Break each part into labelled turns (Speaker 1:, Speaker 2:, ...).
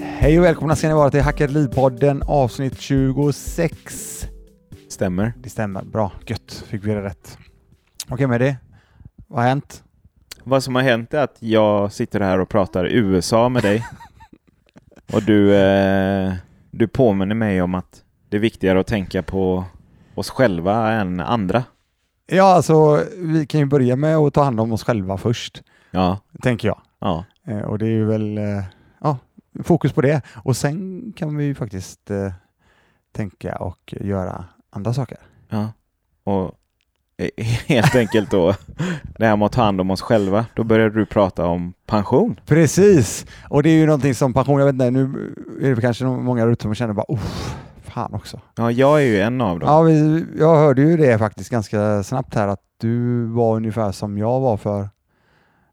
Speaker 1: Hej och välkomna ska ni vara till Hacket Liv-podden avsnitt 26.
Speaker 2: Stämmer.
Speaker 1: Det stämmer, bra, gött, fick vi det rätt. Okej med det. vad har hänt?
Speaker 2: Vad som har hänt är att jag sitter här och pratar USA med dig. och du, eh, du påminner mig om att det är viktigare att tänka på oss själva än andra.
Speaker 1: Ja, alltså vi kan ju börja med att ta hand om oss själva först,
Speaker 2: Ja,
Speaker 1: tänker jag.
Speaker 2: ja.
Speaker 1: Eh, och det är ju väl, eh, ja, fokus på det. Och sen kan vi ju faktiskt eh, tänka och göra andra saker.
Speaker 2: ja. Och eh, helt enkelt då, det här med att ta hand om oss själva, då började du prata om pension.
Speaker 1: Precis, och det är ju någonting som pension, jag vet inte, nu är det kanske många där ute som känner bara, oh, fan också.
Speaker 2: Ja, jag är ju en av dem.
Speaker 1: Ja, vi, jag hörde ju det faktiskt ganska snabbt här att du var ungefär som jag var för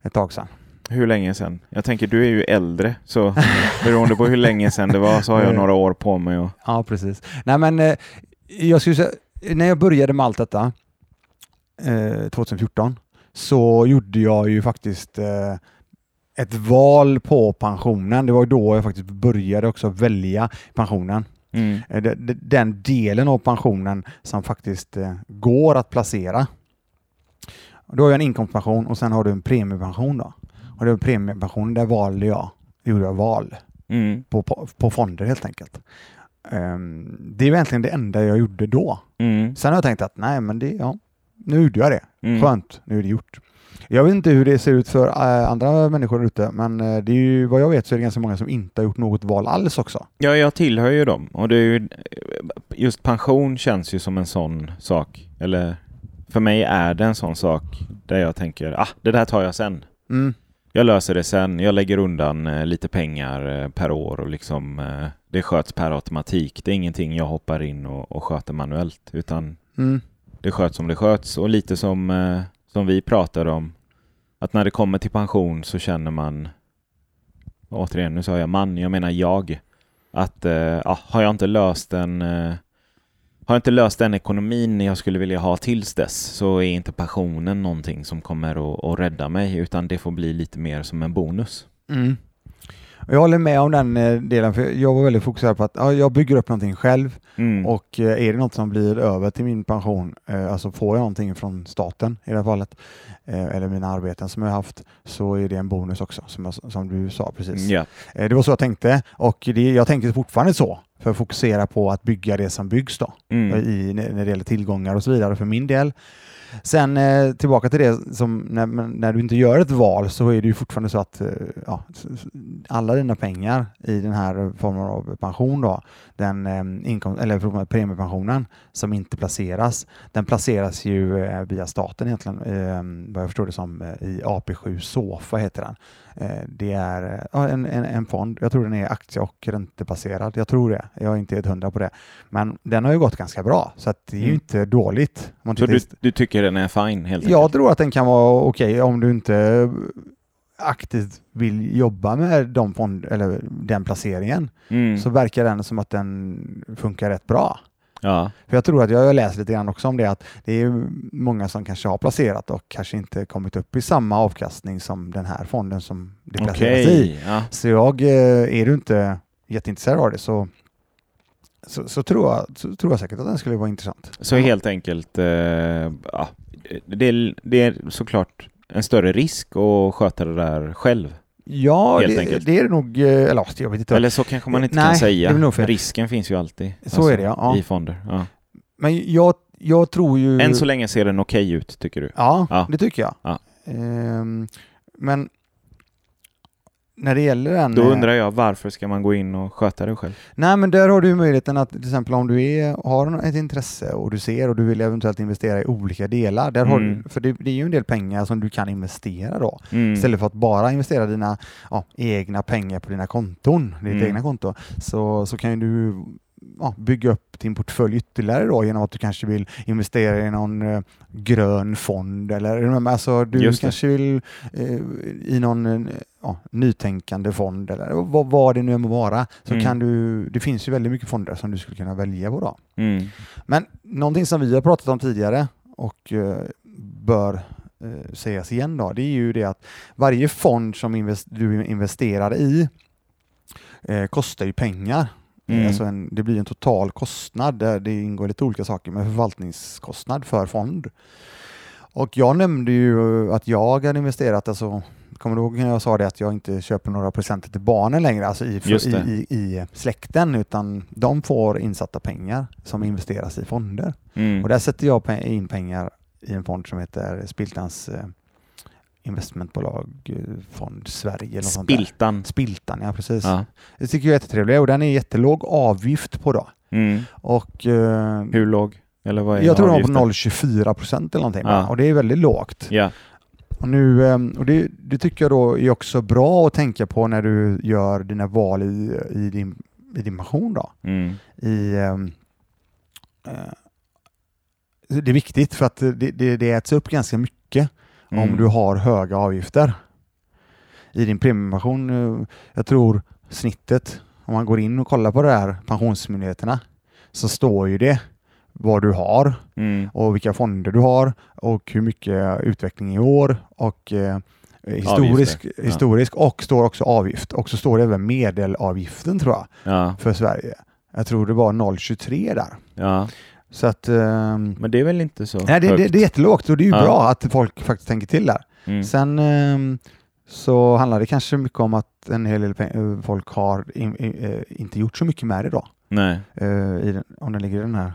Speaker 1: ett tag sedan.
Speaker 2: Hur länge sedan? Jag tänker, du är ju äldre, så beroende på hur länge sedan det var så har jag några år på mig. Och...
Speaker 1: Ja, precis. Nej, men eh, jag skulle säga, när jag började med allt detta eh, 2014 så gjorde jag ju faktiskt eh, ett val på pensionen. Det var ju då jag faktiskt började också välja pensionen.
Speaker 2: Mm.
Speaker 1: Eh, de- de- den delen av pensionen som faktiskt eh, går att placera. Du har ju en inkomstpension och sen har du en premiepension. Då. Och den premiepensionen, där valde jag, gjorde jag val
Speaker 2: Mm.
Speaker 1: på, på, på fonder helt enkelt. Ehm, det är ju egentligen det enda jag gjorde då.
Speaker 2: Mm.
Speaker 1: Sen har jag tänkt att nej, men det, ja, nu gjorde jag det.
Speaker 2: Mm.
Speaker 1: Skönt, nu är det gjort. Jag vet inte hur det ser ut för eh, andra människor där ute, men eh, det är ju, vad jag vet så är det ganska många som inte har gjort något val alls också.
Speaker 2: Ja, jag tillhör ju dem. Och det är ju, just pension känns ju som en sån sak. Eller för mig är det en sån sak där jag tänker ah, det där tar jag sen.
Speaker 1: Mm.
Speaker 2: Jag löser det sen. Jag lägger undan eh, lite pengar eh, per år och liksom eh, det sköts per automatik. Det är ingenting jag hoppar in och, och sköter manuellt utan
Speaker 1: Mm.
Speaker 2: det sköts som det sköts. Och lite som, eh, som vi pratade om att när det kommer till pension så känner man återigen, nu sa jag man, jag menar jag. Att eh, ja, har jag inte löst den eh, har jag inte löst den ekonomin jag skulle vilja ha tills dess så är inte pensionen någonting som kommer att, att rädda mig utan det får bli lite mer som en bonus.
Speaker 1: Mm. Och Jag håller med om den eh, delen, för jag var väldigt fokuserad på att ja, jag bygger upp någonting själv
Speaker 2: Mm.
Speaker 1: och eh, är det något som blir över till min pension, eh, alltså får jag någonting från staten i det här fallet, eh, eller mina arbeten som jag har haft, så är det en bonus också, som, jag, som du sa precis.
Speaker 2: Ja.
Speaker 1: Eh, Det var så jag tänkte och det, jag tänker fortfarande så, för att fokusera på att bygga det som byggs då
Speaker 2: Mm.
Speaker 1: i, när när det gäller tillgångar och så vidare för min del. Sen eh, tillbaka till det som när, men när du inte gör ett val så är det ju fortfarande så att eh, ja, s- s- alla dina pengar i den här formen av pension då, den eh, inkomst, eller förlåt, premiepensionen som inte placeras, den placeras ju eh, via staten egentligen, eh, vad jag förstår det som, eh, i AP7 SOFA heter den. Eh, det är eh, ja, en, en, en fond, jag tror den är aktie och räntebaserad, jag tror det, jag är inte helt hundra på det. Men den har ju gått ganska bra, så att det är ju
Speaker 2: Mm.
Speaker 1: inte dåligt. Om man
Speaker 2: Så
Speaker 1: tittar
Speaker 2: du, du tycker den är fin helt
Speaker 1: jag tror att den kan vara okej om du inte aktivt vill jobba med de fond, eller den placeringen
Speaker 2: Mm.
Speaker 1: så verkar den som att den funkar rätt bra.
Speaker 2: Ja.
Speaker 1: För jag tror att jag har läst lite grann också om det att det är ju många som kanske har placerat och kanske inte kommit upp i samma avkastning som den här fonden som det placeras i.
Speaker 2: Okej. Ja.
Speaker 1: Så jag, eh, är du inte jätteintresserad av det så, så, så, tror jag, så tror jag säkert att den skulle vara intressant.
Speaker 2: Så helt enkelt, eh, ja, det, är, det är såklart en större risk att sköta det där själv.
Speaker 1: Ja,
Speaker 2: Helt
Speaker 1: det,
Speaker 2: enkelt.
Speaker 1: det är det nog, eh, eller ja, jag vet inte.
Speaker 2: Eller så kanske man inte
Speaker 1: Nej,
Speaker 2: kan
Speaker 1: det är väl
Speaker 2: säga.
Speaker 1: nog fel.
Speaker 2: Risken finns ju alltid. alltså,
Speaker 1: Så är det, ja. Ja. Mm.
Speaker 2: I fonder. Ja.
Speaker 1: Men jag, jag tror ju...
Speaker 2: Än så länge ser den okej ut, tycker du?
Speaker 1: Ja,
Speaker 2: Ja.
Speaker 1: det tycker jag.
Speaker 2: Ja.
Speaker 1: Ehm, men när det gäller den...
Speaker 2: Då
Speaker 1: eh,
Speaker 2: undrar jag, varför ska man gå in och sköta det själv?
Speaker 1: Nej, men där har du ju möjligheten att till exempel om du är, har ett intresse och du ser och du vill eventuellt investera i olika delar. Där har du,
Speaker 2: Mm.
Speaker 1: för det, det är ju en del pengar som du kan investera då.
Speaker 2: Mm.
Speaker 1: Istället för att bara investera dina ja, egna pengar på dina konton, ditt
Speaker 2: Mm.
Speaker 1: egna konto, så, så kan ju du ja, bygga upp din portfölj ytterligare då genom att du kanske vill investera i någon eh, grön fond eller är du med mig? alltså, du
Speaker 2: Just det.
Speaker 1: kanske vill eh, i någon eh, ja, nytänkande fond eller vad, vad det nu än må vara. Så
Speaker 2: Mm.
Speaker 1: kan du, det finns ju väldigt mycket fonder som du skulle kunna välja på då.
Speaker 2: Mm.
Speaker 1: Men någonting som vi har pratat om tidigare och eh, bör eh, sägas igen då, det är ju det att varje fond som invest- du investerar i eh, kostar ju pengar.
Speaker 2: Mm.
Speaker 1: Alltså en, det blir en total kostnad där det ingår lite olika saker med förvaltningskostnad för fond. Och jag nämnde ju att jag hade investerat, alltså, kommer du ihåg när jag sa det att jag inte köper några presenter till barnen längre, alltså i,
Speaker 2: Just
Speaker 1: i,
Speaker 2: det.
Speaker 1: i, i släkten, utan de får insatta pengar som investeras i fonder.
Speaker 2: Mm.
Speaker 1: Och där sätter jag pe- in pengar i en fond som heter Spiltans eh, investmentbolag eh, Fond Sverige. Eller något sånt där.
Speaker 2: Spiltan.
Speaker 1: Spiltan, ja precis.
Speaker 2: Ja.
Speaker 1: Det tycker jag är jättetrevligt och den är jättelåg avgift på då.
Speaker 2: Mm.
Speaker 1: Och, eh,
Speaker 2: Hur låg? Eller vad är
Speaker 1: jag tror de var på
Speaker 2: avgiften?
Speaker 1: 0,24 procent eller någonting
Speaker 2: Ja.
Speaker 1: och det är väldigt lågt.
Speaker 2: Ja.
Speaker 1: Och, nu, eh, och det, det tycker jag då är också bra att tänka på när du gör dina val i, i, din, i din pension. Då.
Speaker 2: Mm.
Speaker 1: I, ehm, eh, det är viktigt för att det, det, det äts upp ganska mycket om
Speaker 2: Mm.
Speaker 1: du har höga avgifter. I din premiepension, eh, jag tror snittet, om man går in och kollar på det här, Pensionsmyndigheterna, så står ju det vad du har
Speaker 2: Mm.
Speaker 1: och vilka fonder du har och hur mycket utveckling i år och eh, historisk,
Speaker 2: Avgifter, ja.
Speaker 1: historisk och står också avgift och så står det även medelavgiften tror jag
Speaker 2: Ja.
Speaker 1: för Sverige. Jag tror det var 0,23 där.
Speaker 2: ja.
Speaker 1: Så att ehm,
Speaker 2: Men det är väl inte så
Speaker 1: Nej, det, det,
Speaker 2: högt?
Speaker 1: det är jättelågt och det är ju
Speaker 2: Ja.
Speaker 1: bra att folk faktiskt tänker till där.
Speaker 2: Mm.
Speaker 1: Sen ehm, så handlar det kanske mycket om att en hel del pe- eh, folk har in, i- eh, inte gjort så mycket med det då.
Speaker 2: Nej.
Speaker 1: Eh, i den, om den ligger i den här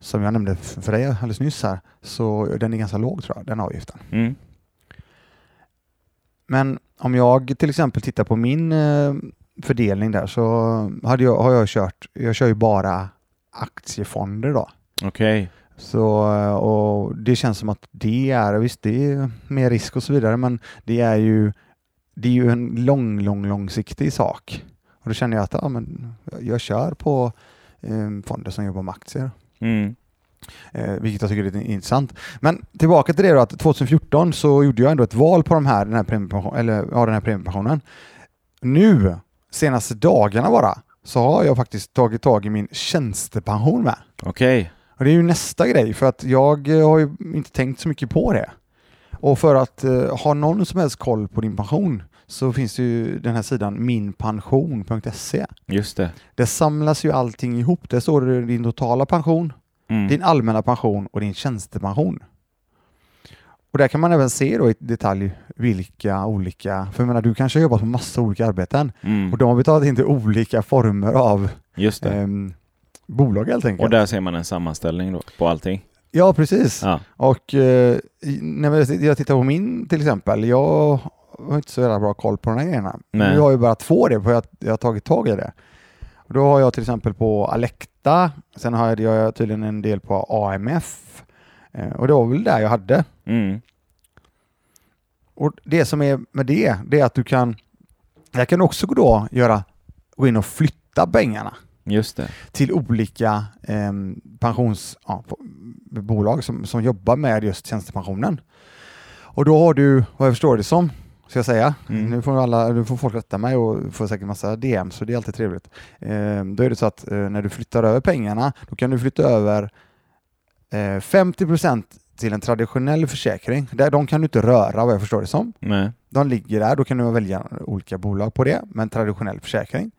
Speaker 1: som jag nämnde f- för dig alldeles nyss här, så den är ganska låg tror jag, den avgiften.
Speaker 2: Mm.
Speaker 1: Men om jag till exempel tittar på min eh, fördelning där så hade jag, har jag kört, jag kör ju bara aktiefonder då.
Speaker 2: Okej.
Speaker 1: Så, eh, och det känns som att det är, visst det är mer risk och så vidare, men det är ju, det är ju en lång, lång, långsiktig sak. Och då känner jag att ja, men jag- jag kör på eh, fonder som jobbar med aktier,
Speaker 2: Mm.
Speaker 1: eh, vilket jag tycker är lite intressant. Men tillbaka till det då, att 2014 så gjorde jag ändå ett val på de här, den, här premiepension, eller, ja, den här premiepensionen. Nu, senaste dagarna bara, så har jag faktiskt tagit tag i min tjänstepension med.
Speaker 2: Okej.
Speaker 1: Och det är ju nästa grej för att jag eh, har ju inte tänkt så mycket på det. Och för att eh, ha någon som helst koll på din pension så finns det ju den här sidan minpension.se.
Speaker 2: Just det.
Speaker 1: Där samlas ju allting ihop. Där står det din totala pension,
Speaker 2: Mm.
Speaker 1: din allmänna pension och din tjänstepension. Och där kan man även se då i detalj vilka olika, för jag menar du kanske har jobbat på massa olika arbeten
Speaker 2: Mm.
Speaker 1: och de har betalat in till olika former av
Speaker 2: Just det.
Speaker 1: ehm, bolag helt enkelt.
Speaker 2: Och där ser man en sammanställning då, på allting.
Speaker 1: Ja, precis.
Speaker 2: Ja.
Speaker 1: Och eh, i- när jag- jag tittar på min till exempel, jag har inte så jävla bra koll på de här grejerna.
Speaker 2: Nej.
Speaker 1: Nu har jag börjat få det, för jag, jag har tagit tag i det. Och då har jag till exempel på Alecta, sen har jag, jag har tydligen en del på AMF, eh, och det var väl där jag hade.
Speaker 2: Mm.
Speaker 1: Och det som är med det, det är att du kan, där kan du också då göra, gå in och flytta pengarna
Speaker 2: Just det.
Speaker 1: till olika eh, pensionsbolag som, som jobbar med just tjänstepensionen. Och då har du, vad jag förstår det som, ska jag säga,
Speaker 2: Mm.
Speaker 1: nu får, alla, nu får folk rätta mig och får säkert massa DM, så det är alltid trevligt. Eh, då är det så att eh, när du flyttar över pengarna, då kan du flytta över eh, 50 till en traditionell försäkring. Där, de kan du inte röra vad jag förstår det som.
Speaker 2: Nej.
Speaker 1: De ligger där, då kan du välja olika bolag på det, men traditionell försäkring.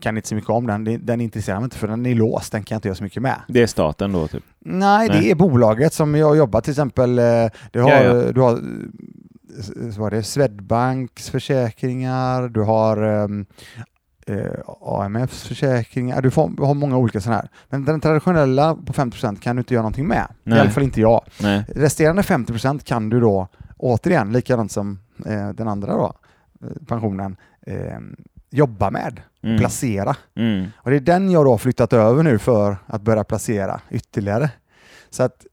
Speaker 1: Kan inte så mycket om den, Det- den intresserar mig inte för den är låst, den kan jag inte göra så mycket med.
Speaker 2: Det är staten då, typ.
Speaker 1: Nej,
Speaker 2: Nej.
Speaker 1: det är bolaget som jag jobbar till exempel, eh, det har,
Speaker 2: Ja, ja.
Speaker 1: du har eh, s- så var det Swedbanks försäkringar, du har ehm, eh, AMFs försäkringar, du får, har många olika sådana här. Men den traditionella på 50% kan du inte göra någonting med,
Speaker 2: Nej.
Speaker 1: i alla fall inte jag.
Speaker 2: Nej.
Speaker 1: Resterande 50 kan du då, återigen, likadant som eh, den andra då, eh, pensionen, eh, jobba med,
Speaker 2: Mm.
Speaker 1: placera.
Speaker 2: Mm.
Speaker 1: Och det är den jag då har flyttat över nu för att börja placera ytterligare. Så att,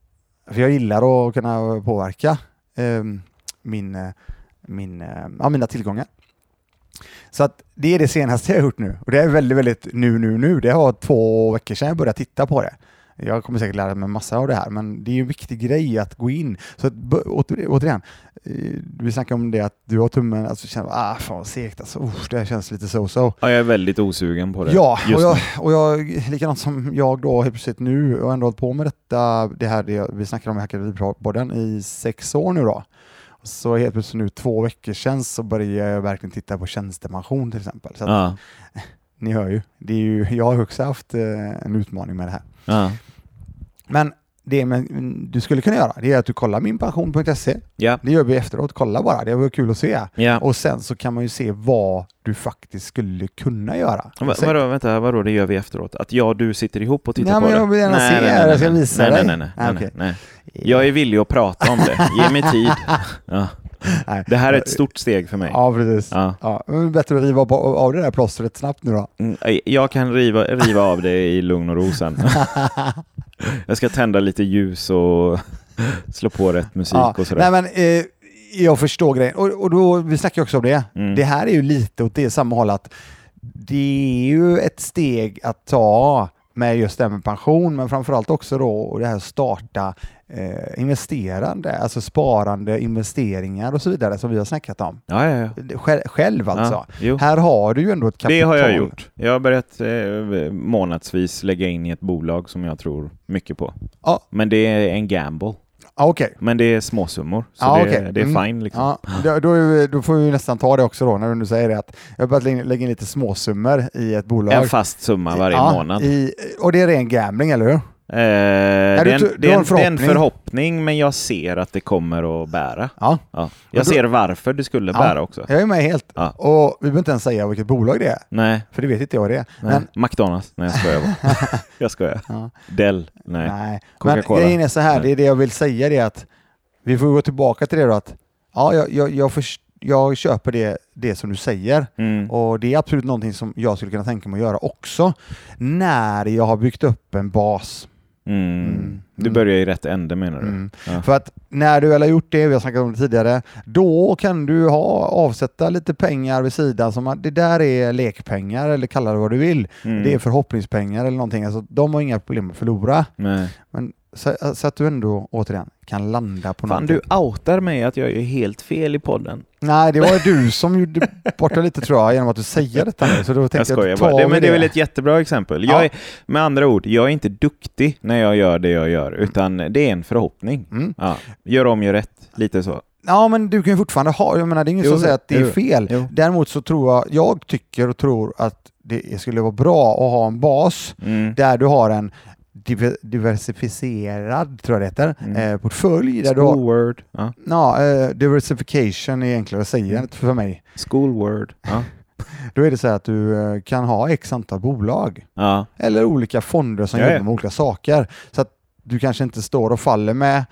Speaker 1: för jag gillar att kunna påverka eh, min, eh, min, eh, ja, mina tillgångar. Så att det är det senaste jag har gjort nu. Och det är väldigt, väldigt nu, nu, nu. Det var två veckor sedan jag började titta på det. Jag kommer säkert lära mig massa av det här, men det är ju en viktig grej att gå in. Så att, bö- åter, återigen, eh, vi snackade om det att du har tummen, alltså känner ah fan vad segt alltså, usch, det här känns lite so-so.
Speaker 2: Ja, jag är väldigt osugen på det.
Speaker 1: Ja,
Speaker 2: just
Speaker 1: och jag,
Speaker 2: nu.
Speaker 1: och jag, likadant som jag då helt plötsligt nu och ändå hållit på med detta, det här det vi snackade om i Hackeripodden i sex år nu då. Så helt plötsligt nu två veckor sedan så började jag verkligen titta på tjänstepension till exempel. Så att,
Speaker 2: Ja.
Speaker 1: Ni hör ju, det är ju, jag har också haft eh, en utmaning med det här.
Speaker 2: Ja.
Speaker 1: Men det men, du skulle kunna göra, det är att du kollar minpension.se.
Speaker 2: Ja.
Speaker 1: Det gör vi efteråt, kolla bara, det var kul att se.
Speaker 2: ja.
Speaker 1: Och sen så kan man ju se vad du faktiskt skulle kunna göra.
Speaker 2: Va- Vadå, vänta, vadå, det gör vi efteråt? Att jag och du sitter ihop och
Speaker 1: Nej,
Speaker 2: tittar på
Speaker 1: men
Speaker 2: det?
Speaker 1: jag vill gärna se det. Jag ska visa
Speaker 2: nej,
Speaker 1: dig.
Speaker 2: Nej, nej, nej,
Speaker 1: Ah,
Speaker 2: nej,
Speaker 1: okej.
Speaker 2: nej. Jag är villig att prata om det. Ge mig tid. Ja.
Speaker 1: Nej.
Speaker 2: Det här är ett stort steg för mig.
Speaker 1: Ja, precis. Ja.
Speaker 2: Ja.
Speaker 1: men bättre att riva av- av det där plåstret snabbt nu då.
Speaker 2: Mm, Jag kan riva, riva av det i lugn och ro sen. Jag ska tända lite ljus och slå på rätt musik
Speaker 1: Ja.
Speaker 2: och sådär.
Speaker 1: Nej, men, eh, jag förstår grejen. Och, och då, vi snackar ju också om det.
Speaker 2: Mm.
Speaker 1: Det här är ju lite åt det samma håll att det är ju ett steg att ta med just det här med pension, men framförallt också då och det här starta eh, investerande, alltså sparande, investeringar och så vidare som vi har snackat om.
Speaker 2: Ja, ja, ja.
Speaker 1: Själv, själv alltså.
Speaker 2: ja jo.
Speaker 1: Här har du ju ändå ett kapital.
Speaker 2: Det har jag gjort. Jag har börjat eh, månadsvis lägga in i ett bolag som jag tror mycket på.
Speaker 1: Ja.
Speaker 2: Men det är en gamble.
Speaker 1: Ja, okej.
Speaker 2: Men det är småsummor, så
Speaker 1: Ja,
Speaker 2: det,
Speaker 1: okej.
Speaker 2: det är
Speaker 1: Mm.
Speaker 2: fine. Liksom.
Speaker 1: Ja, då, då, är vi- då får vi nästan ta det också då när du nu säger det att jag har börjat lägga lägga in lite småsummor i ett bolag.
Speaker 2: En fast summa varje
Speaker 1: Ja,
Speaker 2: månad. Eh,
Speaker 1: I, och det är ren gambling, eller hur?
Speaker 2: det, är
Speaker 1: du
Speaker 2: en,
Speaker 1: tror-
Speaker 2: det,
Speaker 1: du
Speaker 2: är
Speaker 1: har
Speaker 2: en,
Speaker 1: en
Speaker 2: det är en
Speaker 1: förhoppning?
Speaker 2: förhoppning, men jag ser att det kommer att bära.
Speaker 1: Ja,
Speaker 2: Ja.
Speaker 1: Men då-
Speaker 2: Jag ser varför det skulle
Speaker 1: Ja.
Speaker 2: bära också.
Speaker 1: jag är med helt.
Speaker 2: Ja.
Speaker 1: Och vi behöver inte ens säga vilket bolag det är,
Speaker 2: Nej,
Speaker 1: för det vet inte jag vad det är.
Speaker 2: nej.
Speaker 1: Men,
Speaker 2: McDonalds. Nej, jag skojar bara. jag skojar.
Speaker 1: Ja.
Speaker 2: Dell. Nej.
Speaker 1: nej. Men
Speaker 2: Coca-Cola.
Speaker 1: grejen är så här,
Speaker 2: Nej.
Speaker 1: det är det jag vill säga det är att vi får gå tillbaka till det då att ja, jag, jag, jag, förs- jag köper det, det som du säger.
Speaker 2: Mm.
Speaker 1: Och det är absolut någonting som jag skulle kunna tänka mig att göra också när jag har byggt upp en bas. Mm.
Speaker 2: Mm. Du börjar i rätt ände menar du?
Speaker 1: Mm.
Speaker 2: Ja.
Speaker 1: För att när du väl har gjort det, vi har snackat om det tidigare, då kan du ha, avsätta lite pengar vid sidan. Som att det där är lekpengar eller kalla det vad du vill.
Speaker 2: Mm.
Speaker 1: Det är förhoppningspengar eller någonting. Alltså, de har inga problem att förlora.
Speaker 2: Nej.
Speaker 1: Men så, så att du ändå återigen kan landa på
Speaker 2: Fan,
Speaker 1: någonting.
Speaker 2: du outar mig att jag är helt fel i podden.
Speaker 1: Nej, det var du som gjorde bort det lite tror jag genom att du säger detta nu. Så då tänkte
Speaker 2: Jag
Speaker 1: jag,
Speaker 2: skojar
Speaker 1: ta
Speaker 2: bara. Det, men
Speaker 1: med
Speaker 2: det är väl ett jättebra exempel.
Speaker 1: Ja.
Speaker 2: Jag är, med andra ord, jag är inte duktig när jag gör det jag gör, utan det är en förhoppning.
Speaker 1: Mm.
Speaker 2: Ja. Gör om, gör rätt. Lite så.
Speaker 1: Ja, men du kan ju fortfarande ha, jag menar det är ingen
Speaker 2: Jo,
Speaker 1: som säger att det är
Speaker 2: jo,
Speaker 1: fel.
Speaker 2: jo.
Speaker 1: Däremot så tror jag, jag tycker och tror att det skulle vara bra att ha en bas
Speaker 2: Mm.
Speaker 1: där du har en diver- diversifierad, tror jag det heter,
Speaker 2: Mm.
Speaker 1: eh, portfölj. Där du har,
Speaker 2: Schoolword. Ja.
Speaker 1: ja, eh, diversification är enklare att säga
Speaker 2: Mm.
Speaker 1: för mig.
Speaker 2: Schoolword. Ja.
Speaker 1: Då är det så här att du eh, kan ha x antal bolag
Speaker 2: Ja.
Speaker 1: eller olika fonder som
Speaker 2: Ja, ja.
Speaker 1: jobbar med olika saker. Så att du kanske inte står och faller med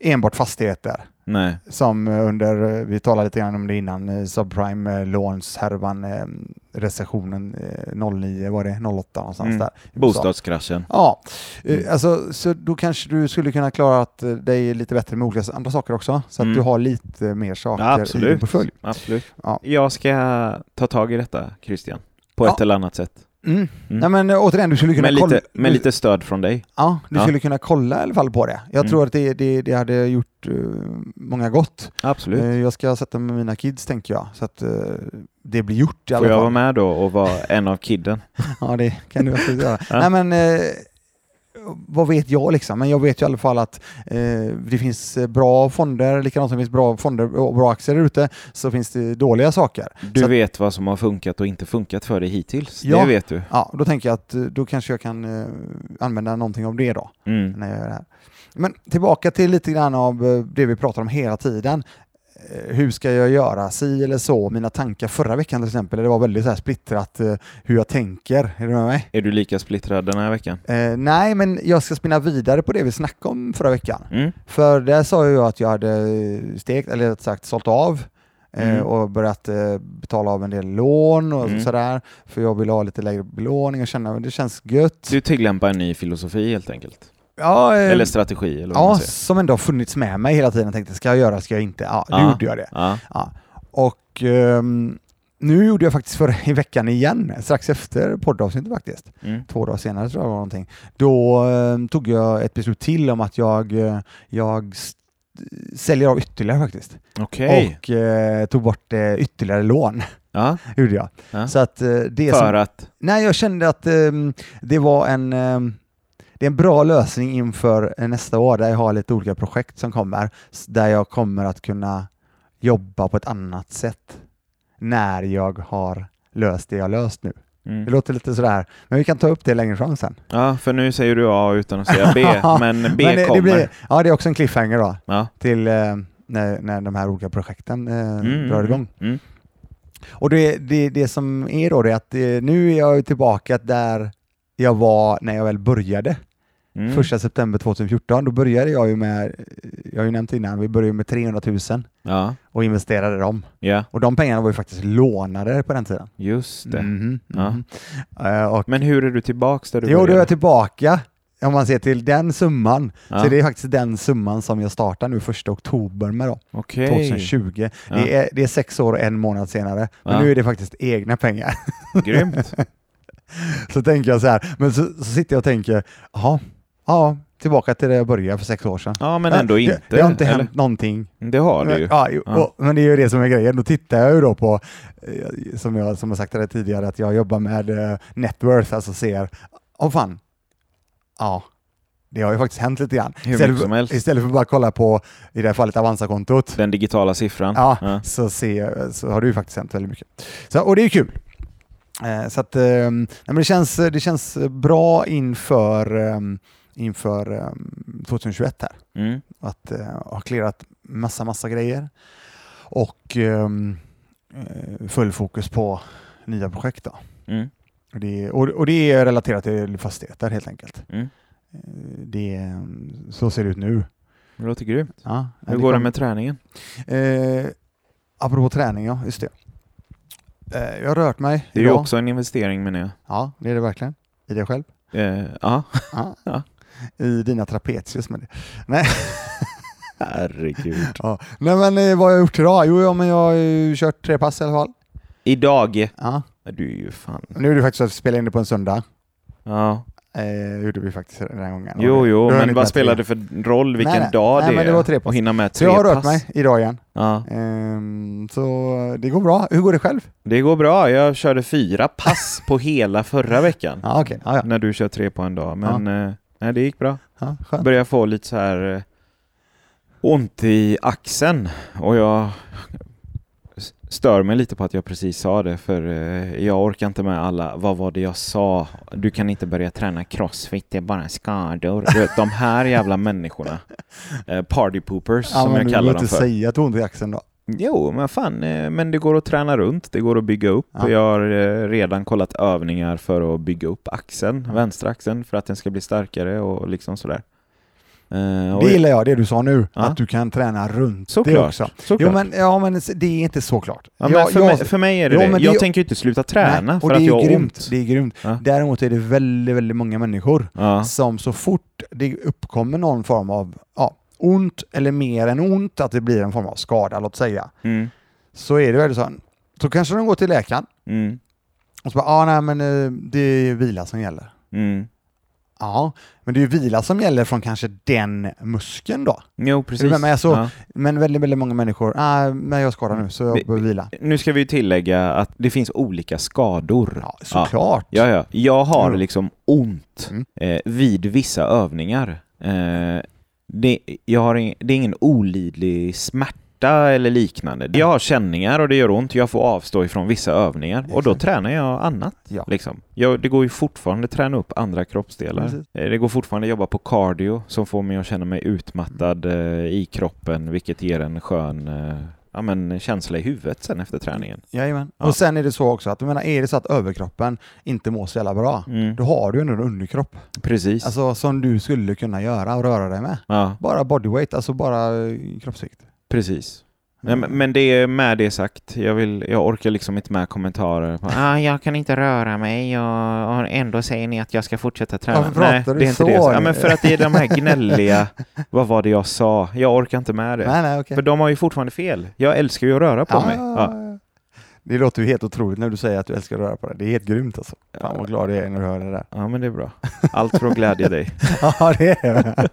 Speaker 1: enbart fastigheter.
Speaker 2: Nej.
Speaker 1: som eh, under, eh, vi talade lite grann om det innan, eh, subprime eh, låns härvan, eh, recessionen eh, 09 var det, 08 någonstans
Speaker 2: Mm.
Speaker 1: där. i USA.
Speaker 2: Bostadskraschen.
Speaker 1: Ja, eh,
Speaker 2: Mm.
Speaker 1: alltså, så då kanske du skulle kunna klara att eh, dig lite bättre med olika s- andra saker också, så att
Speaker 2: Mm.
Speaker 1: du har lite mer saker
Speaker 2: Ja,
Speaker 1: i din
Speaker 2: absolut.
Speaker 1: portfölj.
Speaker 2: Absolut.
Speaker 1: Ja.
Speaker 2: Jag ska ta tag i detta, Christian. På
Speaker 1: Ja.
Speaker 2: ett eller annat sätt.
Speaker 1: Mm. Nej, men eh, återigen, du skulle kunna
Speaker 2: Med lite,
Speaker 1: kolla...
Speaker 2: med lite stöd från dig.
Speaker 1: Ja, du
Speaker 2: Ja.
Speaker 1: skulle kunna kolla i alla fall på det. Jag
Speaker 2: Mm.
Speaker 1: tror att det, det, det hade gjort eh, många gott.
Speaker 2: Absolut.
Speaker 1: Eh, jag ska sätta mig med mina kids, tänker jag, så att eh, det blir gjort i alla
Speaker 2: Får jag
Speaker 1: fall.
Speaker 2: vara med då och vara en av kidden?
Speaker 1: Ja, det kan du absolut göra.
Speaker 2: Ja.
Speaker 1: Nej, men, eh, vad vet jag liksom? Men jag vet ju i alla fall att eh, det finns eh, bra fonder, likadant som det finns bra fonder och bra aktier där ute, så finns det dåliga saker.
Speaker 2: Du
Speaker 1: Så att-
Speaker 2: vet vad som har funkat och inte funkat för dig hittills.
Speaker 1: Ja.
Speaker 2: Det vet du.
Speaker 1: Ja, då tänker jag att eh, då kanske jag kan eh, använda någonting av det då,
Speaker 2: Mm.
Speaker 1: när jag gör det här. Men tillbaka till lite grann av eh, det vi pratar om hela tiden. Eh, Hur ska jag göra? Si eller så? Mina tankar förra veckan till exempel, det var väldigt så här splittrat eh, hur jag tänker. Är du med mig?
Speaker 2: Är du lika splittrad den här veckan?
Speaker 1: Eh, nej, men jag ska spinna vidare på det vi snackade om förra veckan.
Speaker 2: Mm.
Speaker 1: För där sa jag att jag hade eh, stekt, eller rätt sagt sålt av eh,
Speaker 2: Mm.
Speaker 1: och börjat eh, betala av en del lån och
Speaker 2: Mm.
Speaker 1: sådär. För jag vill ha lite lägre belåning och känna att det känns gött.
Speaker 2: Du tillämpar en ny filosofi helt enkelt.
Speaker 1: Ja, eh,
Speaker 2: Eller strategi eller vad man
Speaker 1: ja
Speaker 2: säger.
Speaker 1: som ändå har funnits med mig hela tiden. Jag tänkte, ska jag göra, ska jag inte? Ja, nu
Speaker 2: Ja.
Speaker 1: gjorde jag det.
Speaker 2: Ja.
Speaker 1: Och ehm, nu gjorde jag faktiskt förra i veckan igen, strax efter poddavsnittet faktiskt.
Speaker 2: Mm.
Speaker 1: två dagar senare tror jag det var någonting, då eh, tog jag ett beslut till om att jag, eh, jag s- säljer av ytterligare faktiskt.
Speaker 2: Okej.
Speaker 1: Och eh, tog bort eh, ytterligare lån,
Speaker 2: Ja.
Speaker 1: gjorde jag.
Speaker 2: Ja.
Speaker 1: Så att eh, det
Speaker 2: För
Speaker 1: som,
Speaker 2: att...
Speaker 1: ehm, Nej, jag kände att eh, det var en eh, det är en bra lösning inför eh, nästa år där jag har lite olika projekt som kommer, s- där jag kommer att kunna jobba på ett annat sätt när jag har löst det jag löst nu. Det
Speaker 2: Mm.
Speaker 1: låter lite sådär, men vi kan ta upp det längre fram sen.
Speaker 2: Ja, för nu säger du A utan att säga B, men B
Speaker 1: Men det,
Speaker 2: kommer.
Speaker 1: det blir, ja, det är också en cliffhanger då,
Speaker 2: Ja.
Speaker 1: till eh, när, när de här olika projekten eh,
Speaker 2: Mm,
Speaker 1: drar
Speaker 2: mm,
Speaker 1: igång.
Speaker 2: Mm.
Speaker 1: Och det, det, det som är då det är att eh, nu är jag ju tillbaka där jag var när jag väl började.
Speaker 2: Mm.
Speaker 1: Första september 2014, då började jag ju med, jag har ju nämnt innan, vi började med 300 000
Speaker 2: Ja.
Speaker 1: och investerade dem.
Speaker 2: ja,
Speaker 1: Och de pengarna var ju faktiskt lånade på den tiden.
Speaker 2: just det.
Speaker 1: Mhm,
Speaker 2: Ja.
Speaker 1: mhm. Eh, och,
Speaker 2: Mm. Men hur är du tillbaks där du
Speaker 1: jo, då är
Speaker 2: började?
Speaker 1: jag tillbaka om man ser till den summan.
Speaker 2: Ja.
Speaker 1: Så det är faktiskt den summan som jag startar nu första oktober med då,
Speaker 2: Okej.
Speaker 1: 2020.
Speaker 2: Ja.
Speaker 1: Det, är, det är sex år och en månad senare, men
Speaker 2: Ja.
Speaker 1: nu är det faktiskt egna pengar.
Speaker 2: Grymt.
Speaker 1: Så tänker jag så här, men så, så sitter jag och tänker, jaha, ja, tillbaka till där jag började för sex år sedan.
Speaker 2: Ja, men ändå
Speaker 1: det,
Speaker 2: inte.
Speaker 1: Det har inte
Speaker 2: eller?
Speaker 1: hänt någonting.
Speaker 2: Det har du ju.
Speaker 1: Ja, jo,
Speaker 2: Ja.
Speaker 1: Och, men det är ju det som är grejen. Då tittar jag ju då på, eh, som jag som jag sagt det tidigare, att jag jobbar med eh, net worth, alltså ser, åh fan, ja, det har ju faktiskt hänt lite grann.
Speaker 2: Hur
Speaker 1: Istället
Speaker 2: mycket
Speaker 1: för-
Speaker 2: som helst.
Speaker 1: Istället för att bara kolla på, i det här fallet, Avanza-kontot,
Speaker 2: Den digitala siffran.
Speaker 1: Ja,
Speaker 2: Ja.
Speaker 1: så, ser, så har det ju faktiskt hänt väldigt mycket. Så, och det är kul. Eh, Så att, eh, nej, men det, känns, det känns bra inför, eh, inför eh, 2021 här.
Speaker 2: Mm.
Speaker 1: Att eh, ha clearat massa, massa grejer och eh, eh, full fokus på nya projekt. Då.
Speaker 2: Mm.
Speaker 1: Och det, och, och det är relaterat till fastigheter helt enkelt.
Speaker 2: Mm.
Speaker 1: Eh, Det, så ser det ut nu.
Speaker 2: Det låter grymt.
Speaker 1: Ja,
Speaker 2: Hur går det med träningen?
Speaker 1: Eh, apropå träning, ja, just det. Eh, jag har rört mig
Speaker 2: Det är ju
Speaker 1: idag.
Speaker 2: också en investering menar jag.
Speaker 1: Ja, det är det verkligen. I dig själv.
Speaker 2: Eh, Ja.
Speaker 1: Ja.
Speaker 2: Ja.
Speaker 1: I dina trapezius med det.
Speaker 2: Herregud.
Speaker 1: Ja. Nej men eh, vad har jag gjort idag? Jo, ja, men jag har ju kört tre pass i alla fall.
Speaker 2: Idag.
Speaker 1: Ja.
Speaker 2: Du är ju fan.
Speaker 1: Nu är det faktiskt så att vi spelar in det på en söndag.
Speaker 2: Ja.
Speaker 1: Eh, gjorde vi faktiskt den här gången.
Speaker 2: Jo,
Speaker 1: Då
Speaker 2: jo,
Speaker 1: har jag
Speaker 2: men
Speaker 1: hunnit
Speaker 2: vad
Speaker 1: med
Speaker 2: spelar
Speaker 1: tre.
Speaker 2: det för roll vilken
Speaker 1: Nej, nej.
Speaker 2: dag
Speaker 1: Nej,
Speaker 2: det
Speaker 1: men det
Speaker 2: är?
Speaker 1: var tre pass.
Speaker 2: Och hinna med
Speaker 1: Så
Speaker 2: tre
Speaker 1: jag har rört
Speaker 2: pass.
Speaker 1: mig idag igen.
Speaker 2: Ja.
Speaker 1: Ehm, så det går bra. Hur går det själv?
Speaker 2: Det går bra. Jag körde fyra pass på hela förra veckan.
Speaker 1: Ja, okej. Ja, ja.
Speaker 2: När du kör tre på en dag. Men eh, nej, det gick bra.
Speaker 1: ja, skönt.
Speaker 2: börjar få lite så här eh, ont i axeln och jag s- stör mig lite på att jag precis sa det för eh, jag orkar inte med alla, vad var det jag sa? Du kan inte börja träna crossfit, det är bara skador. Du vet, de här jävla människorna, eh, party poopers
Speaker 1: Ja,
Speaker 2: som
Speaker 1: men
Speaker 2: jag
Speaker 1: du behöver
Speaker 2: kallar dem
Speaker 1: inte
Speaker 2: för.
Speaker 1: säga att du har ont i axeln då.
Speaker 2: Jo, men fan, eh, men det går att träna runt, det går att bygga upp.
Speaker 1: Ja.
Speaker 2: Jag har eh, redan kollat övningar för att bygga upp axeln, vänstra axeln, för att den ska bli starkare och liksom sådär. Eh, och
Speaker 1: Det gillar jag, det du sa nu,
Speaker 2: Ja.
Speaker 1: att du kan träna runt det
Speaker 2: Såklart.
Speaker 1: också.
Speaker 2: Såklart.
Speaker 1: Jo, men, ja, men det är inte så klart.
Speaker 2: ja, men för, mig, för mig är det
Speaker 1: Jo,
Speaker 2: det.
Speaker 1: men det
Speaker 2: Jag
Speaker 1: är-
Speaker 2: tänker ju inte sluta träna
Speaker 1: nej,
Speaker 2: för
Speaker 1: och
Speaker 2: att
Speaker 1: det är
Speaker 2: jag har
Speaker 1: grymt,
Speaker 2: ont.
Speaker 1: Det är grymt.
Speaker 2: Ja.
Speaker 1: Däremot är det väldigt, väldigt många människor
Speaker 2: Ja.
Speaker 1: som så fort det uppkommer någon form av ja, ont eller mer än ont, att det blir en form av skada, låt säga,
Speaker 2: Mm.
Speaker 1: så är det väl så. Så kanske de går till läkaren
Speaker 2: Mm.
Speaker 1: och så bara, ah, nej men eh, det är ju vila som gäller.
Speaker 2: Mm.
Speaker 1: Ja, men det är ju vila som gäller från kanske den muskeln då.
Speaker 2: Jo, precis.
Speaker 1: med mig? Så-
Speaker 2: Ja.
Speaker 1: Men väldigt, väldigt många människor, ah, men jag skadar nu så jag
Speaker 2: Vi-
Speaker 1: behöver vila.
Speaker 2: Nu ska vi ju tillägga att det finns olika skador.
Speaker 1: Ja, såklart.
Speaker 2: Ja, ja. Jag har
Speaker 1: Jo.
Speaker 2: liksom ont
Speaker 1: Mm.
Speaker 2: eh, vid vissa övningar. Eh, det, jag har ing, det är ingen olidlig smärta eller liknande.
Speaker 1: Mm.
Speaker 2: Jag har känningar och det gör ont. Jag får avstå ifrån vissa övningar och då
Speaker 1: Exakt.
Speaker 2: tränar jag annat.
Speaker 1: Ja.
Speaker 2: Liksom. Jag, det går ju fortfarande att träna upp andra kroppsdelar.
Speaker 1: Precis.
Speaker 2: Eh, Det går fortfarande att jobba på cardio som får mig att känna mig utmattad eh, i kroppen vilket ger en skön eh, ja, men, känsla i huvudet sen efter träningen.
Speaker 1: Jajamän.
Speaker 2: Ja.
Speaker 1: Och sen är det så också att, jag menar, är det så att överkroppen inte mår så jävla bra,
Speaker 2: Mm.
Speaker 1: då har du ändå en underkropp.
Speaker 2: Precis.
Speaker 1: Alltså som du skulle kunna göra och röra dig med.
Speaker 2: ja,
Speaker 1: Bara bodyweight, alltså bara eh, kroppsvikt.
Speaker 2: precis. Nej, men- men det är med det sagt, jag, vill, jag orkar liksom inte med kommentarer. På, ah, jag kan inte röra mig och, och ändå säger ni att jag ska fortsätta träna.
Speaker 1: Varför pratar
Speaker 2: Nej,
Speaker 1: du
Speaker 2: det är inte
Speaker 1: så
Speaker 2: det.
Speaker 1: nu?
Speaker 2: Ja, men för att det är de här gnälliga, vad var det jag sa? Jag orkar inte med det.
Speaker 1: Nej, nej, okej. Ah.
Speaker 2: För de har ju fortfarande fel. Jag älskar ju att röra på mig. Ja.
Speaker 1: ja. Det låter ju helt otroligt när du säger att du älskar att röra på dig. Det är helt grymt alltså. Fan vad glad jag är när du hör det där.
Speaker 2: Ja, men det är bra. Allt för att glädja dig.
Speaker 1: ja, det är det.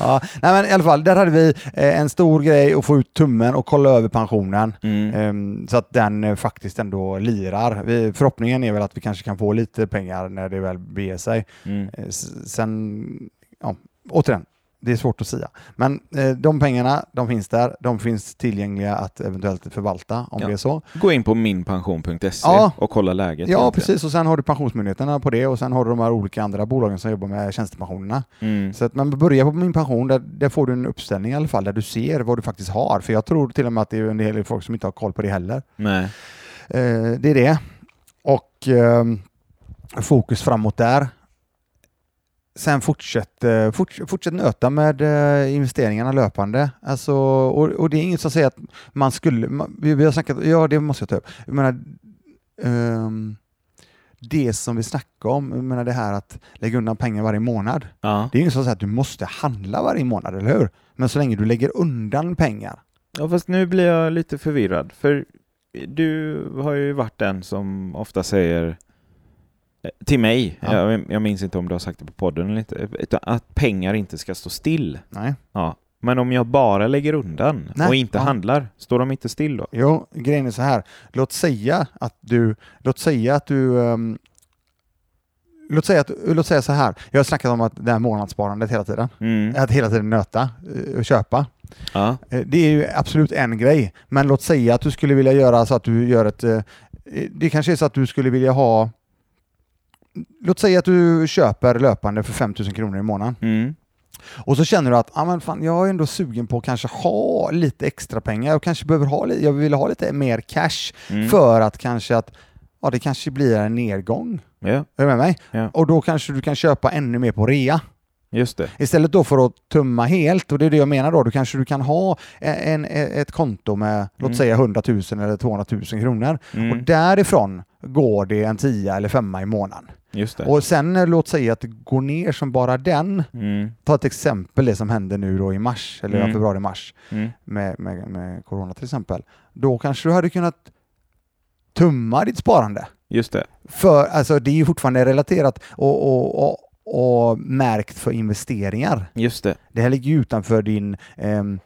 Speaker 1: ja, nej, men i alla fall, där hade vi eh, en stor grej att få ut tummen och kolla över pensionen.
Speaker 2: Mm.
Speaker 1: Ehm, Så att den eh, faktiskt ändå lirar. Vi- Förhoppningen är väl att vi kanske kan få lite pengar när det väl beger sig.
Speaker 2: Mm.
Speaker 1: Eh, s- Sen, ja, återigen, det är svårt att säga. Men eh, de pengarna, de finns där. De finns tillgängliga att eventuellt förvalta om
Speaker 2: Ja.
Speaker 1: det är så.
Speaker 2: Gå in på minpension.se
Speaker 1: Ja.
Speaker 2: och kolla läget.
Speaker 1: Ja,
Speaker 2: egentligen.
Speaker 1: precis. Och sen har du Pensionsmyndigheterna på det och sen har du de här olika andra bolagen som jobbar med tjänstepensionerna.
Speaker 2: Mm.
Speaker 1: Så att man börjar på min pension, där, där får du en uppställning i alla fall, där du ser vad du faktiskt har. För jag tror till och med att det är en hel del folk som inte har koll på det heller.
Speaker 2: Nej.
Speaker 1: Eh, det är det. Och ehm, fokus framåt där. Sen fortsätt, eh, forts- fortsätt nöta med eh, investeringarna löpande. Alltså, och, och det är inget som säger att man skulle... Man, vi, vi har snackat, ja det måste jag ta upp. Jag menar, ehm, det som vi snackade om, jag menar det här att lägga undan pengar varje månad.
Speaker 2: Ja.
Speaker 1: Det är inget som säger att du måste handla varje månad, eller hur? Men så länge du lägger undan pengar.
Speaker 2: ja, fast nu blir jag lite förvirrad. För du har ju varit den som ofta säger eh, till mig,
Speaker 1: Ja.
Speaker 2: jag, jag minns inte om du har sagt det på podden eller inte, utan att pengar inte ska stå still.
Speaker 1: Nej.
Speaker 2: Ja. Men om jag bara lägger undan
Speaker 1: Nej.
Speaker 2: och inte
Speaker 1: Ja.
Speaker 2: handlar, står de inte still då?
Speaker 1: Jo, grejen är så här. Låt säga att du... Låt säga att du... ehm, låt, säga att, låt säga så här. Jag har snackat om att det här månadssparandet hela tiden.
Speaker 2: Mm.
Speaker 1: Att hela tiden nöta eh, och köpa.
Speaker 2: Ja.
Speaker 1: Eh, Det är ju absolut en grej. Men låt säga att du skulle vilja göra så att du gör ett... eh, Det kanske är så att du skulle vilja ha... Låt säga att du köper löpande för 5 000 kronor i månaden.
Speaker 2: Mm.
Speaker 1: Och så känner du att ah, men fan, jag är ändå sugen på att kanske ha lite extra pengar. Jag kanske behöver ha, li- jag vill ha lite mer cash
Speaker 2: Mm.
Speaker 1: för att kanske att ja, det kanske blir en nedgång.
Speaker 2: Ja,
Speaker 1: Är du med mig?
Speaker 2: Ja.
Speaker 1: Och då kanske du kan köpa ännu mer på rea.
Speaker 2: just det.
Speaker 1: Istället då för att tumma helt, och det är det jag menar då, då kanske du kan ha e-, en, ett konto med
Speaker 2: Mm.
Speaker 1: låt säga 100 000 eller 200 000 kronor.
Speaker 2: Mm.
Speaker 1: Och därifrån går det en tia eller femma i månaden.
Speaker 2: Just det.
Speaker 1: Och sen eh, låt säga att det går ner som bara den,
Speaker 2: Mm.
Speaker 1: ta ett exempel det som hände nu då i mars, eller
Speaker 2: Mm.
Speaker 1: februari-mars,
Speaker 2: Mm.
Speaker 1: med, med, med corona till exempel. Då kanske du hade kunnat tumma ditt sparande.
Speaker 2: Just det.
Speaker 1: För alltså, det är ju fortfarande relaterat och, och, och, och märkt för investeringar.
Speaker 2: Just det.
Speaker 1: Det här ligger ju utanför din ehm,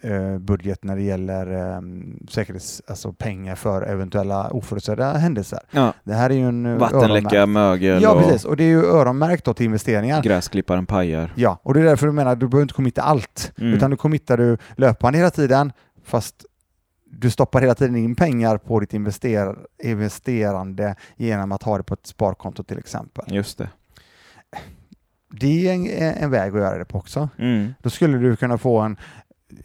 Speaker 1: eh, budget när det gäller ehm, säkerhets, alltså pengar för eventuella oförutsedda händelser.
Speaker 2: Ja.
Speaker 1: Det här är ju en eh,
Speaker 2: Vattenläcka, mögel
Speaker 1: öronmärkt- Ja,
Speaker 2: och
Speaker 1: precis. Och det är ju öronmärkt då till investeringar.
Speaker 2: gräsklipparen pajar.
Speaker 1: Ja, och det är därför du menar du behöver inte committa allt,
Speaker 2: Mm.
Speaker 1: utan du committar du löpande hela tiden, fast du stoppar hela tiden in pengar på ditt invester- investerande genom att ha det på ett sparkonto till exempel.
Speaker 2: Just det.
Speaker 1: Det är en, en väg att göra det på också.
Speaker 2: Mm.
Speaker 1: Då skulle du kunna få en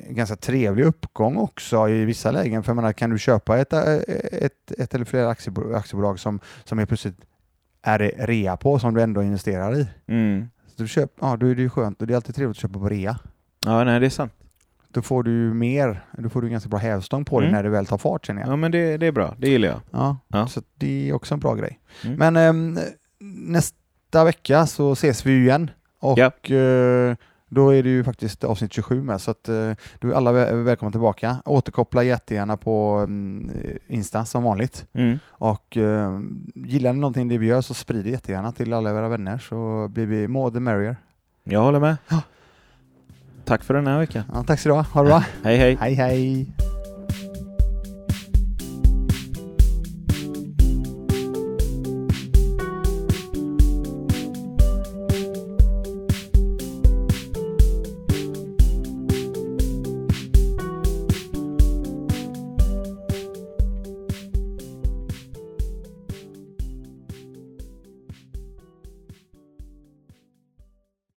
Speaker 1: ganska trevlig uppgång också i vissa lägen. För jag menar, kan du köpa ett, äh, ett, ett eller flera aktiebolag, aktiebolag som, som är plötsligt är det rea på, som du ändå investerar i.
Speaker 2: Mm.
Speaker 1: Så du köp, ja, då är det ju skönt och det är alltid trevligt att köpa på rea.
Speaker 2: Ja, nej, det är sant.
Speaker 1: då får du ju mer, då får du ganska bra hävstång på det
Speaker 2: Mm.
Speaker 1: när det väl tar fart känner jag.
Speaker 2: Ja, men det, det är bra. Det gillar jag.
Speaker 1: Ja.
Speaker 2: Ja.
Speaker 1: Så det är också en bra grej.
Speaker 2: Mm.
Speaker 1: Men ehm, nästa vecka så ses vi ju igen och eh, då är det ju faktiskt avsnitt 27 med så att eh, du är alla vä- välkomna tillbaka. Återkoppla jättegärna på mm, Insta som vanligt
Speaker 2: Mm.
Speaker 1: och eh, gillar ni någonting det vi gör så sprid det jättegärna till alla era vänner så blir vi more the merrier.
Speaker 2: Jag håller med. Tack för den här veckan.
Speaker 1: Ja, tack så du ha, ha det bra.
Speaker 2: Hej, hej.
Speaker 1: hej hej!